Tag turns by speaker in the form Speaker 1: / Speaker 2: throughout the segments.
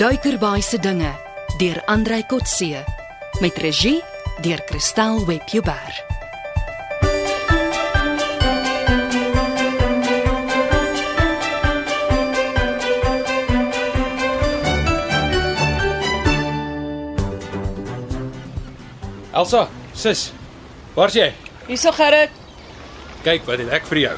Speaker 1: Kankerbaai se dinge deur Andrei Kotse met regie deur Kristal Webjuber.
Speaker 2: Elsa, sis. Waar's jy?
Speaker 3: Hierso Gerrit,
Speaker 2: Kyk wat het ek vir jou.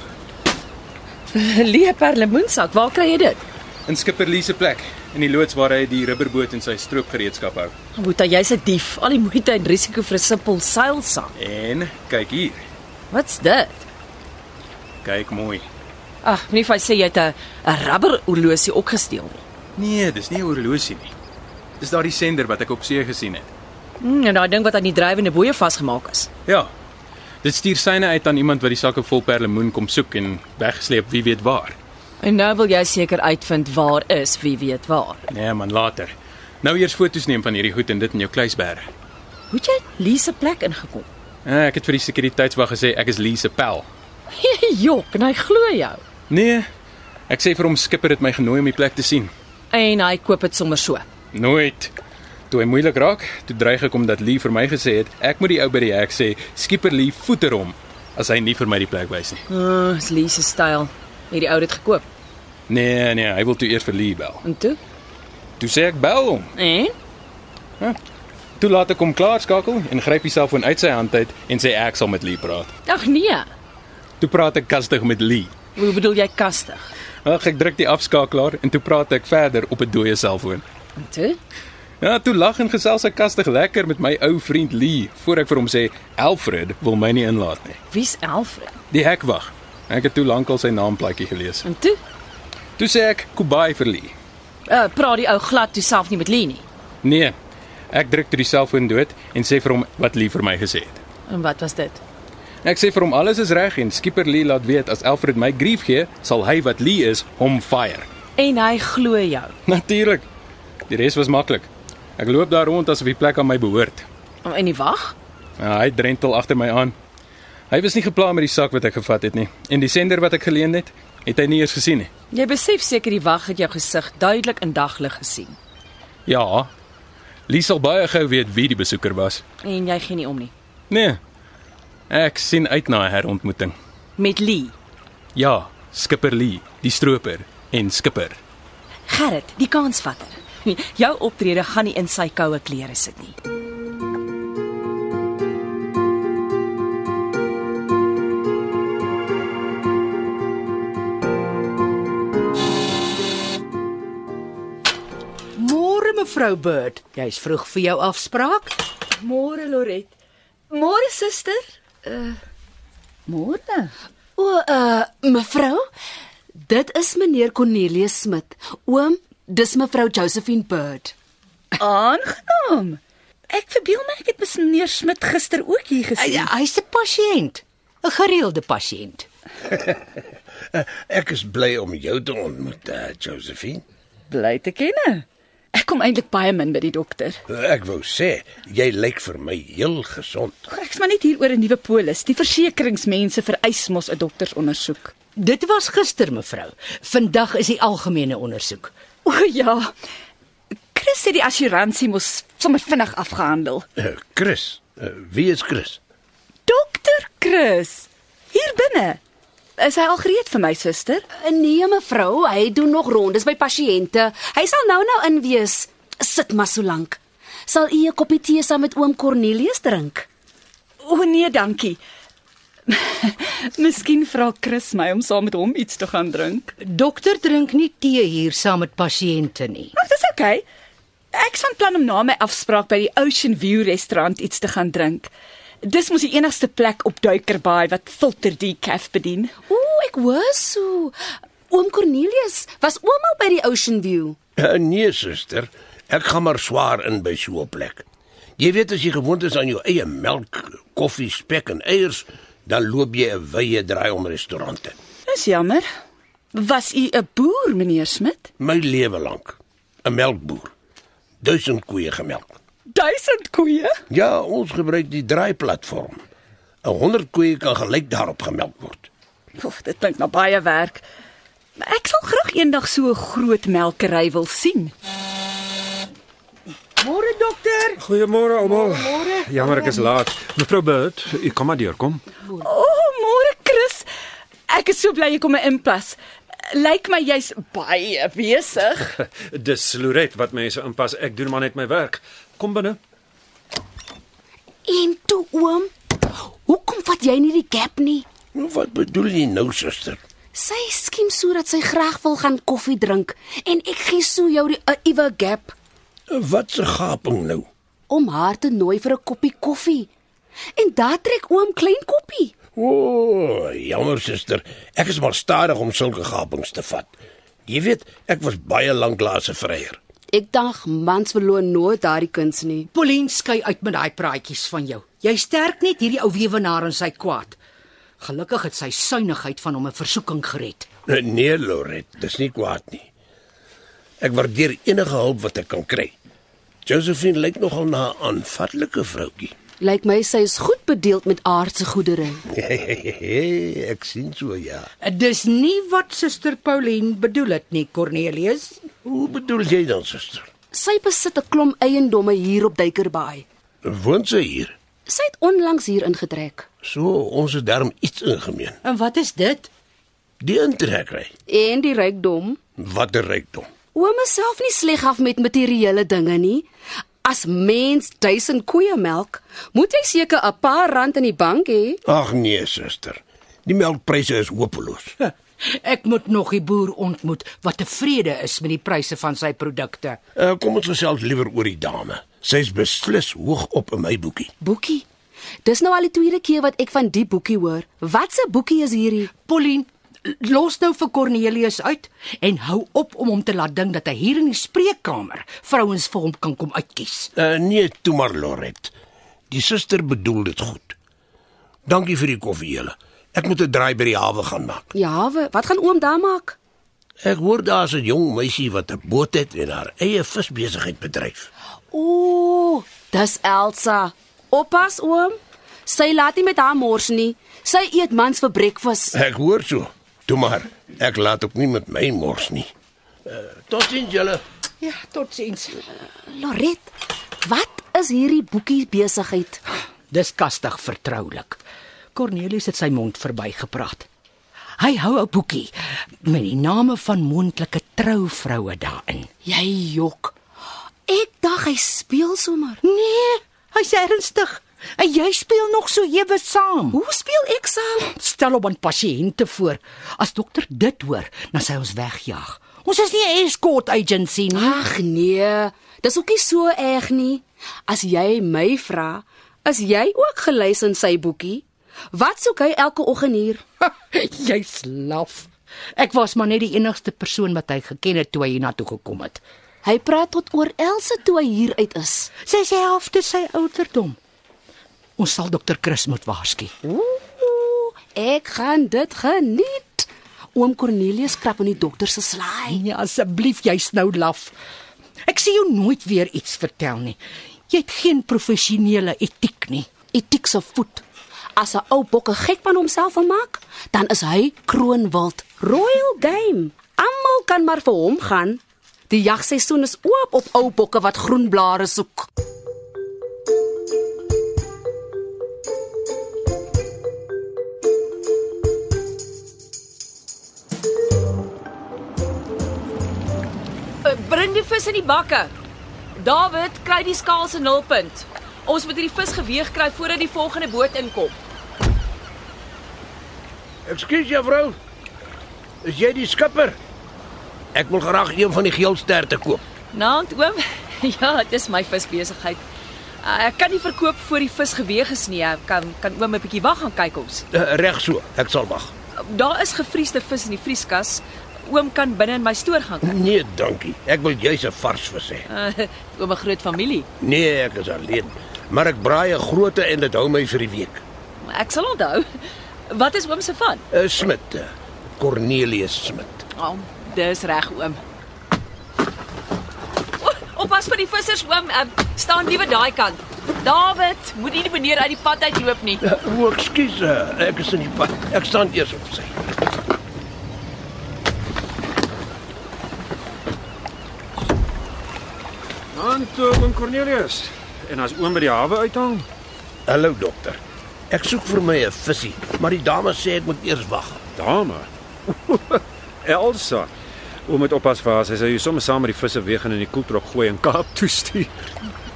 Speaker 3: leë perlemoensak. Waar kry jy dit?
Speaker 2: In skipper Lee se plek in die loods waar hy die rubberboot en sy stroopgereedskap hou.
Speaker 3: Boeta, jy's 'n dief. Al die moeite en risiko vir 'n simpel seilsak.
Speaker 2: En kyk hier.
Speaker 3: Wat's dit?
Speaker 2: Kyk mooi.
Speaker 3: Ag, moenie vir my sê jy het 'n 'n rubber horlosie opgesteel nie.
Speaker 2: Nee, dis nie 'n horlosie nie. Dis daardie sender wat ek op see gesien het.
Speaker 3: Mm, en daai ding wat aan die drywende boeye vasgemaak is.
Speaker 2: Ja. Dit stuur syne uit aan iemand wat die sakke vol perlemoen kom soek en weggesleep wie weet waar.
Speaker 3: En nou wil jy seker uitvind waar is wie weet waar.
Speaker 2: Nee man, later. Nou eers foto's neem van hierdie goed en dit in jou kluisberg.
Speaker 3: Hoe het jy Lee se plek ingekom?
Speaker 2: Eh, Ek het vir die sekuriteitswag gesê ek is Lee se pel.
Speaker 3: Jok, en hy glo jou.
Speaker 2: Nee. Ek sê vir hom skipper het my genooi om die plek te sien.
Speaker 3: En hy koop dit sommer so.
Speaker 2: Nooit. Toe hy moeilik raak, toe dreig ek om dat Lee vir my gesê het ek moet die ou by die hek sê skieper Lee voeter hom as hy nie vir my die plek wys nie.
Speaker 3: Ah, dis Lee se styl. Hierdie ou het dit gekoop.
Speaker 2: Nee nee, hy wil toe eers vir Lee bel.
Speaker 3: En toe? Nee.
Speaker 2: Toe sê ek bel hom.
Speaker 3: En?
Speaker 2: Toe laat ek hom klaarskakel en gryp die selfoon uit sy hand uit en sê ek sal met Lee praat.
Speaker 3: Ag nee.
Speaker 2: Toe praat ek kastig met Lee.
Speaker 3: Hoe bedoel jy kastig?
Speaker 2: Ag ek druk die afskakelaar en toe praat ek verder op 'n dooie selfoon.
Speaker 3: En toe?
Speaker 2: Ja, toe lag en gesels ek kastig lekker met my ou vriend Lee voor ek vir hom sê Alfred wil my nie inlaat nie.
Speaker 3: Wie's Alfred?
Speaker 2: Die hekwag. Ek het toe lankal sy naamplaatjie gelees.
Speaker 3: En toe?
Speaker 2: Toe sê ek Kubai vir Lee.
Speaker 3: Uh, praat die ou glad toe self nie met Lee nie.
Speaker 2: Nee. Ek druk toe die selfoon dood en sê vir hom wat Lee vir my gesê het.
Speaker 3: En wat was dit?
Speaker 2: Ek sê vir hom alles is reg en skieper Lee laat weet as Alfred my grief gee, sal hy wat Lee is hom fire.
Speaker 3: En hy glo jou.
Speaker 2: Natuurlik. Die res was maklik. Ek loop daar rond asof die plek aan my behoort.
Speaker 3: En die wag?
Speaker 2: Ja, hy drentel agter my aan. Hy was nie gepla met die sak wat ek gevat het nie en die sender wat ek geleen het, het hy nie eers gesien nie.
Speaker 3: Jy besef seker die wag het jou gesig duidelik in daglig gesien
Speaker 2: Ja. Lee sal baie gou weet wie die besoeker was.
Speaker 3: en jy gee nie om nie.
Speaker 2: Nee. Ek sien uit na 'n herontmoeting.
Speaker 3: Met Lee.
Speaker 2: Ja, skipper Lee, die stroper en skipper.
Speaker 3: Gerrit, die kansvatter. Jou optrede gaan nie in sy koue klere sit nie.
Speaker 4: Môre mevrou Bird, jy's vroeg vir jou afspraak.
Speaker 5: Môre Loret. Môre suster. Uh,
Speaker 4: Môre.
Speaker 5: O, uh mevrou, dit is meneer Cornelius Smit. Oom, dis mevrou Josephine Bird.
Speaker 6: Aangenaam. Ek verbeel my ek het mis meneer Smit gister ook hier
Speaker 4: Hy,
Speaker 6: gesien.
Speaker 5: ja.
Speaker 4: hy's 'n pasiënt, 'n gereelde pasiënt.
Speaker 7: Ek is bly om jou te ontmoet, uh, Josephine.
Speaker 6: Bly te kenne.
Speaker 5: Ek kom eintlik baie min by die dokter.
Speaker 7: Ek wou sê, jy lyk vir my heel gesond.
Speaker 6: O, Ek's maar net hier oor 'n nuwe polis. Die versekeringsmense vereis mos 'n doktersondersoek.
Speaker 4: Dit was gister mevrou. Vandag is die algemene ondersoek.
Speaker 6: O ja. Chris het die assuransie mos sommer vinnig afgehandel.
Speaker 7: Uh, Chris, uh, wie is Chris?
Speaker 6: Dokter Chris. Hier binne. Is hy al gereed vir my suster?
Speaker 5: Nee mevrou, hy doen nog rondes by pasiënte. Hy sal nou-nou in wees. Sit maar so lank. Sal u 'n koppie tee saam met oom Cornelius drink?
Speaker 6: O nee, dankie. Miskien vra Chris my om saam met hom iets te gaan drink.
Speaker 4: Dokter drink nie tee hier saam met pasiënte nie.
Speaker 6: Ag, dis oukei. Okay. Ek's van plan om na my afspraak by die Ocean View restaurant iets te gaan drink. Dis mos die enigste plek op Duikerbaai wat filter decaf bedien.
Speaker 5: O, ek hoor so. Oom Cornelius was oomal by die Ocean View.
Speaker 7: Uh, nee, suster, ek gaan maar swaar in by so 'n plek. Jy weet as jy gewoond is aan jou eie melk, koffie, spek en eiers, dan loop jy 'n wye draai om restaurante.
Speaker 6: Dis jammer. Was u 'n boer, meneer Smit?
Speaker 7: My lewe lank 'n melkboer. Duisend koeie gemelk.
Speaker 6: Duisend koeie.
Speaker 7: Ja, ons gebruik die draaiplatform. 'n 100 koeie kan gelyk daarop gemelk word.
Speaker 6: Oef, dit klink na baie werk. Maar Ek sal graag eendag so 'n groot melkery wil sien. Pieter.
Speaker 8: Goeiemôre almal. Jammer ek is laat. Mevrou Bird, u kan maar deurkom.
Speaker 9: O, oh, môre Chris. Ek is so bly jy kom my inpas. Lyk my jy's baie besig.
Speaker 8: Dis Loret wat mense inpas. Ek doen maar net my werk. Kom binne.
Speaker 3: En toe oom, hoekom vat jy nie die gap nie?
Speaker 7: Nou wat bedoel jy nou, suster?
Speaker 3: Sy skiem sodat sy graag wil gaan koffie drink en ek gee so jou die 'n iwe gap
Speaker 7: Wat 'n gaping nou.
Speaker 3: om haar te nooi vir 'n koppie koffie. En daar trek oom klein koppie.
Speaker 7: O, oh, jammer suster. Ek is maar stadig om sulke gapings te vat. Jy weet, ek was baie lank laas 'n vryer.
Speaker 3: Ek dink mans verloor nooit daardie kuns nie.
Speaker 4: Pauline skei uit met daai praatjies van jou. Jy sterk net hierdie ou weewenaar en sy kwaad. Gelukkig het sy suinigheid van hom 'n versoeking gered.
Speaker 7: Nee, Loret, dis nie kwaad nie. Ek waardeer enige hulp wat ek kan kry. Josephine lyk nogal na 'n aanvatlike vroutjie.
Speaker 3: Lyk my sy is goed bedeeld met aardse goedere.
Speaker 7: ek sien so ja.
Speaker 4: Dis nie wat suster Pauline bedoel het nie, Cornelius.
Speaker 7: Hoe bedoel jy dan, suster?
Speaker 3: Sy besit 'n klomp eiendomme hier op Duikerbaai.
Speaker 7: Woon sy hier?
Speaker 3: Sy het onlangs hier ingetrek
Speaker 7: So, ons het darm iets in gemeen.
Speaker 4: En wat is dit?
Speaker 7: Die intrekry.
Speaker 3: en die rykdom.
Speaker 7: Wat 'n rykdom.
Speaker 3: Oom is self nie sleg af met materiële dinge nie. As mens duisend koeie melk, moet jy seker 'n paar rand in die bank hê.
Speaker 7: Ag nee, suster. Die melkpryse is hopeloos.
Speaker 4: Ek moet nog die boer ontmoet wat tevrede is met die pryse van sy produkte.
Speaker 7: Uh, kom ons gesels liewer oor die dame. Sy's beslis hoog op in my boekie.
Speaker 3: Boekie. Dis nou al die tweede keer wat ek van die boekie hoor. Wat 'n boekie is hierdie?
Speaker 4: Pauline, los nou vir Cornelius uit en hou op om hom te laat dink dat hy hier in die spreekkamer vrouens vir hom kan kom uitkies.
Speaker 7: Uh, nee, toe maar Loret. Die suster bedoel dit goed. Dankie vir die koffie julle. Ek moet 'n draai by die hawe gaan maak.
Speaker 3: Ja, we- wat gaan oom daar maak?
Speaker 7: Ek hoor daar's 'n jong meisie wat 'n boot het en haar eie visbesigheid bedryf.
Speaker 3: Ooh, dis Elsa. Oppas oom. Sy laat nie met haar mors nie. Sy eet mans vir breakfast.
Speaker 7: Ek hoor so. Toe maar, ek laat ook nie met my mors nie. Uh, Totsiens julle.
Speaker 4: Ja, totsiens.
Speaker 3: Loret, wat is hierdie boekie besigheid?
Speaker 4: Dis kastig vertroulik. Cornelius het sy mond verbygepraat. Hy hou 'n boekie met die name van moontlike trouvroue daarin.
Speaker 3: Jy jok. Ek dink hy speel sommer.
Speaker 4: Nee, hy's ernstig. En jy speel nog so ewe saam.
Speaker 3: Hoe speel ek saam?
Speaker 4: Stel op aan pasiënte voor. As dokter dit hoor, dan sê hy ons wegjaag. Ons is nie 'n escort agency nie.
Speaker 3: Ag nee, dis ook nie so erg nie. As jy my vra, is jy ook gelys in sy boekie? Wat soek hy elke oggend hier?
Speaker 4: Jy's laf. Ek was maar net die enigste persoon wat hy geken het toe hy hiernatoe gekom het.
Speaker 3: Hy praat tot oor Elsa toe hy hier uit is.
Speaker 4: Sy sê halfte sy ouderdom. Ons sal dokter Chris moet waarsku.
Speaker 3: Ooh, ek gaan dit geniet. Oom Cornelius krap in die dokter se slaai.
Speaker 4: Nee, asseblief, jy's nou laf. Ek sien jou nooit weer iets vertel nie. Jy het geen professionele etiek nie.
Speaker 3: Etiek se voet. As 'n ou bok 'n gek van homself wil maak, dan is hy kroonwild. Royal game. Almal kan maar vir hom gaan. Die jagseisoen is oop op ou bokke wat groen blare soek.
Speaker 9: Eh, Bring die vis in die bakke. David, kry die skaal se nulpunt. Ons moet hierdie vis geweeg kry voordat die volgende boot inkom.
Speaker 7: Ekskuus juffrou. Is jy die skipper? Ek wil graag een van die geel sterte koop.
Speaker 9: Naand oom. Ja, dis my visbesigheid. Uh, Ek kan nie verkoop voor die vis geweeg is nie. Ek kan kan oom 'n bietjie wag gaan kyk ons.
Speaker 7: Uh, Reg so, ek sal wag.
Speaker 9: Daar is gevriesde vis in die vrieskas. Oom kan binne in my stoor gaan kyk.
Speaker 7: Nee, dankie. Ek wil jous 'n vars vis hê.
Speaker 9: Uh, oom 'n groot familie.
Speaker 7: Nee, ek is alleen. Maar ek braai 'n groot en dit hou my vir die week.
Speaker 9: Ek sal onthou. Wat is oom se van?
Speaker 7: Uh, Smit, uh, Cornelius Smit.
Speaker 9: Oh, dis reg oom. O, Oppas vir die vissers oom. Uh, staan liewe daai kant. David, moet nie die meneer uit die pad uitloop nie.
Speaker 7: Uh, o, ekskuus, uh, ek is in die pad. Ek staan eers op sy.
Speaker 8: Aan toe, oom Cornelius. En as oom by die hawe uithang?
Speaker 7: Hallo dokter. Ek soek vir my 'n visie, maar die dame sê ek moet eers wag.
Speaker 8: Dame. Elsa. Oom moet oppas vir haar. Sy sê jy sommer saam met die visse weeg en in die koeltrok gooi en Kaap toe stuur.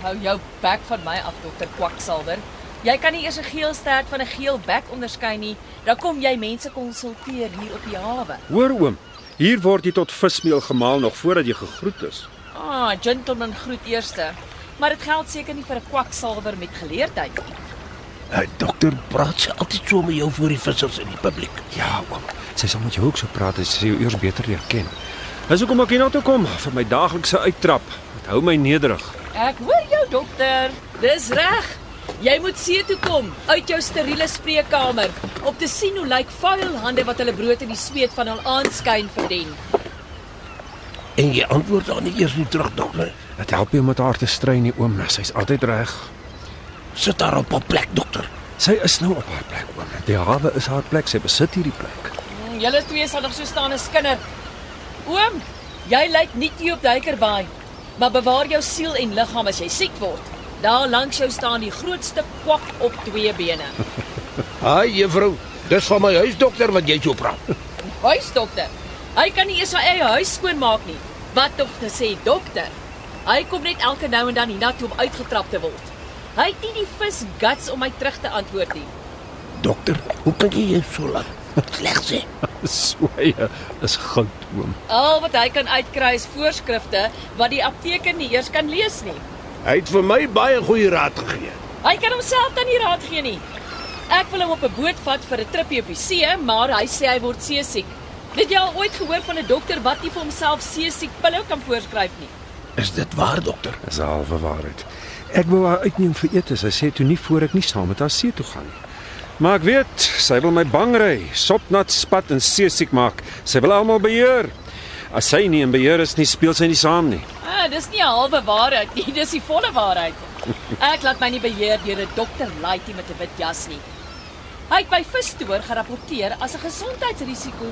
Speaker 6: Hou jou bek van my af, dokter Kwaksalwer. Jy kan nie eers 'n geel stert van 'n geel bek onderskei nie. Dan kom jy mense konsulteer hier op die hawe.
Speaker 8: Hoor oom, hier word jy tot vismeel gemaal nog voordat jy gegroet is.
Speaker 6: Ah, gentleman groet eerste. Maar dit geld seker nie vir 'n kwaksalwer met geleerdheid nie.
Speaker 7: Hey, Eh, dokter praat sy altyd so met jou voor die vissers en die publiek.
Speaker 8: Ja, oom. Sy sal met jou ook so praat as sy jou eers beter leer ken. Dis hoekom ek hiernatoe kom vir my daaglikse uittrap. Dit hou my nederig.
Speaker 6: Ek hoor jou, dokter. Dis reg. Jy moet see toe kom, uit jou steriele spreekkamer, om te sien hoe lyk vuil hande wat hulle brood in die sweet van hul aanskyn verdien.
Speaker 7: En jy antwoord haar nie eers nie terug dokter.
Speaker 8: Dit help jou om met haar te strei nie, oom. nou, Sy's altyd reg.
Speaker 7: Sit daar op 'n plek dokter.
Speaker 8: Sy is nou op haar plek, oom. Die hawe is haar plek. Sy besit hierdie plek.
Speaker 6: Hm, Julle twee sal nog so staan as kinders. Oom, jy lyk nie toe op Duikerbaai, maar bewaar jou siel en liggaam as jy siek word. Daar langs jou staan die grootste kwak op twee bene.
Speaker 7: Haai juffrou, dis van my huis dokter wat jy so praat.
Speaker 6: Huisdokter. Hy kan nie eers sy eie huis skoonmaak nie. Wat tog te sê dokter. Hy kom net elke nou en dan hiernatoe om uitgetrap te word. Hy het nie die vis guts om my terug te antwoord nie.
Speaker 7: Dokter, hoe kan jy jou so laat? Sleg sê.
Speaker 8: Sweye is goud, oom.
Speaker 6: Al wat hy kan uitkry is voorskrifte wat die apteker nie eers kan lees nie.
Speaker 7: Hy het vir my baie goeie raad gegee.
Speaker 6: Hy kan homself dan nie raad gee nie. Ek wil hom op 'n boot vat vir 'n tripie op die see, maar hy sê hy word seesiek. Het jy al ooit gehoor van 'n dokter wat nie vir homself seesiek pille kan voorskryf nie?
Speaker 7: Is dit waar dokter?
Speaker 8: Dis haar halwe waarheid. Ek wou haar uitneem vir ete. Sy sê toe nie voor ek nie saam met haar see toe gaan nie. Maar ek weet, sy wil my bang ry, sopnat spat en seesiek maak. Sy wil almal beheer. As sy nie in beheer is nie, speel sy nie saam nie.
Speaker 6: Ah, dis nie 'n halwe waarheid nie, dis die volle waarheid. Ek laat my nie beheer deur 'n dokter laaitie met 'n wit jas nie. Hy het by visstoor gerapporteer as 'n gesondheidsrisiko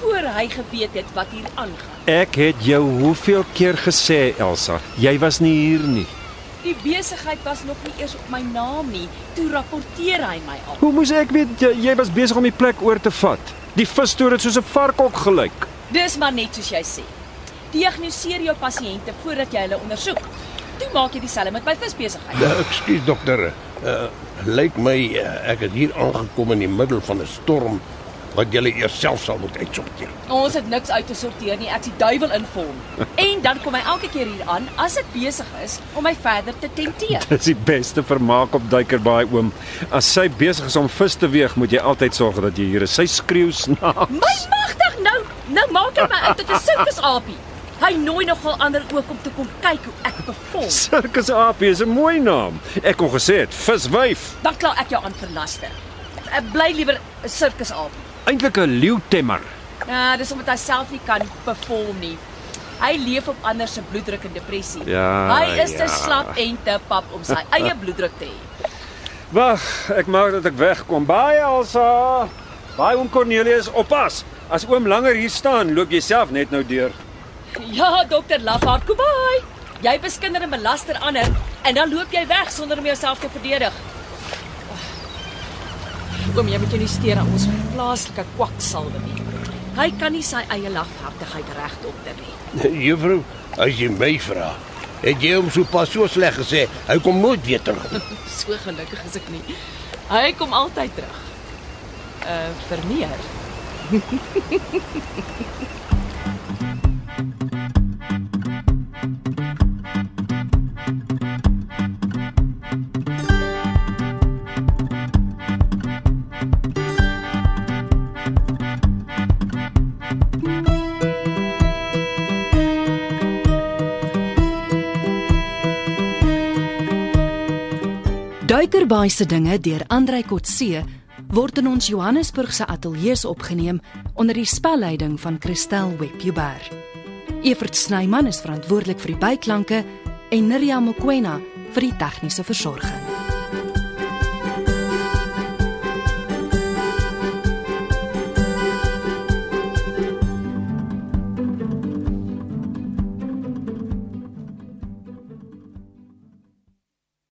Speaker 6: voor hy geweet het wat hier aangaan.
Speaker 8: Ek het jou hoeveel keer gesê, Elsa, jy was nie hier nie.
Speaker 6: Die besigheid was nog nie eers op my naam nie, toe rapporteer hy my al.
Speaker 8: Hoe moes ek weet jy, jy was besig om die plek oor te vat? Die visstoer het soos 'n varkok gelyk.
Speaker 6: Dis maar net soos jy sê. Diagnoseer jou pasiënte voordat jy hulle ondersoek. Toe maak jy dieselfde met my visbesigheid.
Speaker 7: Ja, ekskuus dokter. Uh, lyk my uh, ek het hier aangekom in die middel van 'n storm wat julle eers self sal moet uitsorteer.
Speaker 6: Ons het niks uit te sorteer nie. Ek is die duiwel in vorm. En dan kom hy elke keer hier aan as dit besig is om my verder te tenteer.
Speaker 8: Dis die beste vermaak op Duikerbaai oom. As sy besig is om vis te weeg, moet jy altyd sorg dat jy hier is. Sy skreeu snaaks.
Speaker 6: My magtig nou, nou maak hy my uit tot 'n sirkusaapie. Hy nooi nogal ander ook om te kom kyk hoe ek bevol.
Speaker 8: Circus Apie is 'n mooi naam. Ek kon gesê het viswyf,
Speaker 6: Dan kla ek jou aan vir laster. Ek bly liewer 'n sirkusaapie.
Speaker 8: eintlik 'n leeutemmer.
Speaker 6: Ja, dis omdat hy self nie kan perform nie. Hy leef op ander se bloeddruk en depressie.
Speaker 8: Ja,
Speaker 6: hy is
Speaker 8: ja.
Speaker 6: te slap en te pap om sy eie bloeddruk te hê.
Speaker 8: Wag, ek maak dat ek wegkom. Baie Elsa. Baie oom Cornelius, oppas. As oom langer hier staan, loop jy self net nou deur.
Speaker 6: Ja, dokter Lafard, kobai. Jy beskinder en belaster ander en dan loop jy weg sonder om jouself te verdedig. Oh. Kom, jy moet jou nie steur aan ons plaaslike kwaksalwe nie. Hy kan nie sy eie lafhartigheid regdokter nie.
Speaker 7: Juffrou, as jy my vra, het jy hom sopas so sleg gesê. Hy kom nooit weer terug.
Speaker 6: So gelukkig is ek nie. Hy kom altyd terug. Uh vir meer.
Speaker 1: Duikerbaai se dinge deur Andrei Kotse word in ons Johannesburg se ateljee se opgeneem onder die spelleiding van Christel Webjuber. Evert Snyman is verantwoordelik vir die byklanke en Neriya Mkwena vir die tegniese versorging.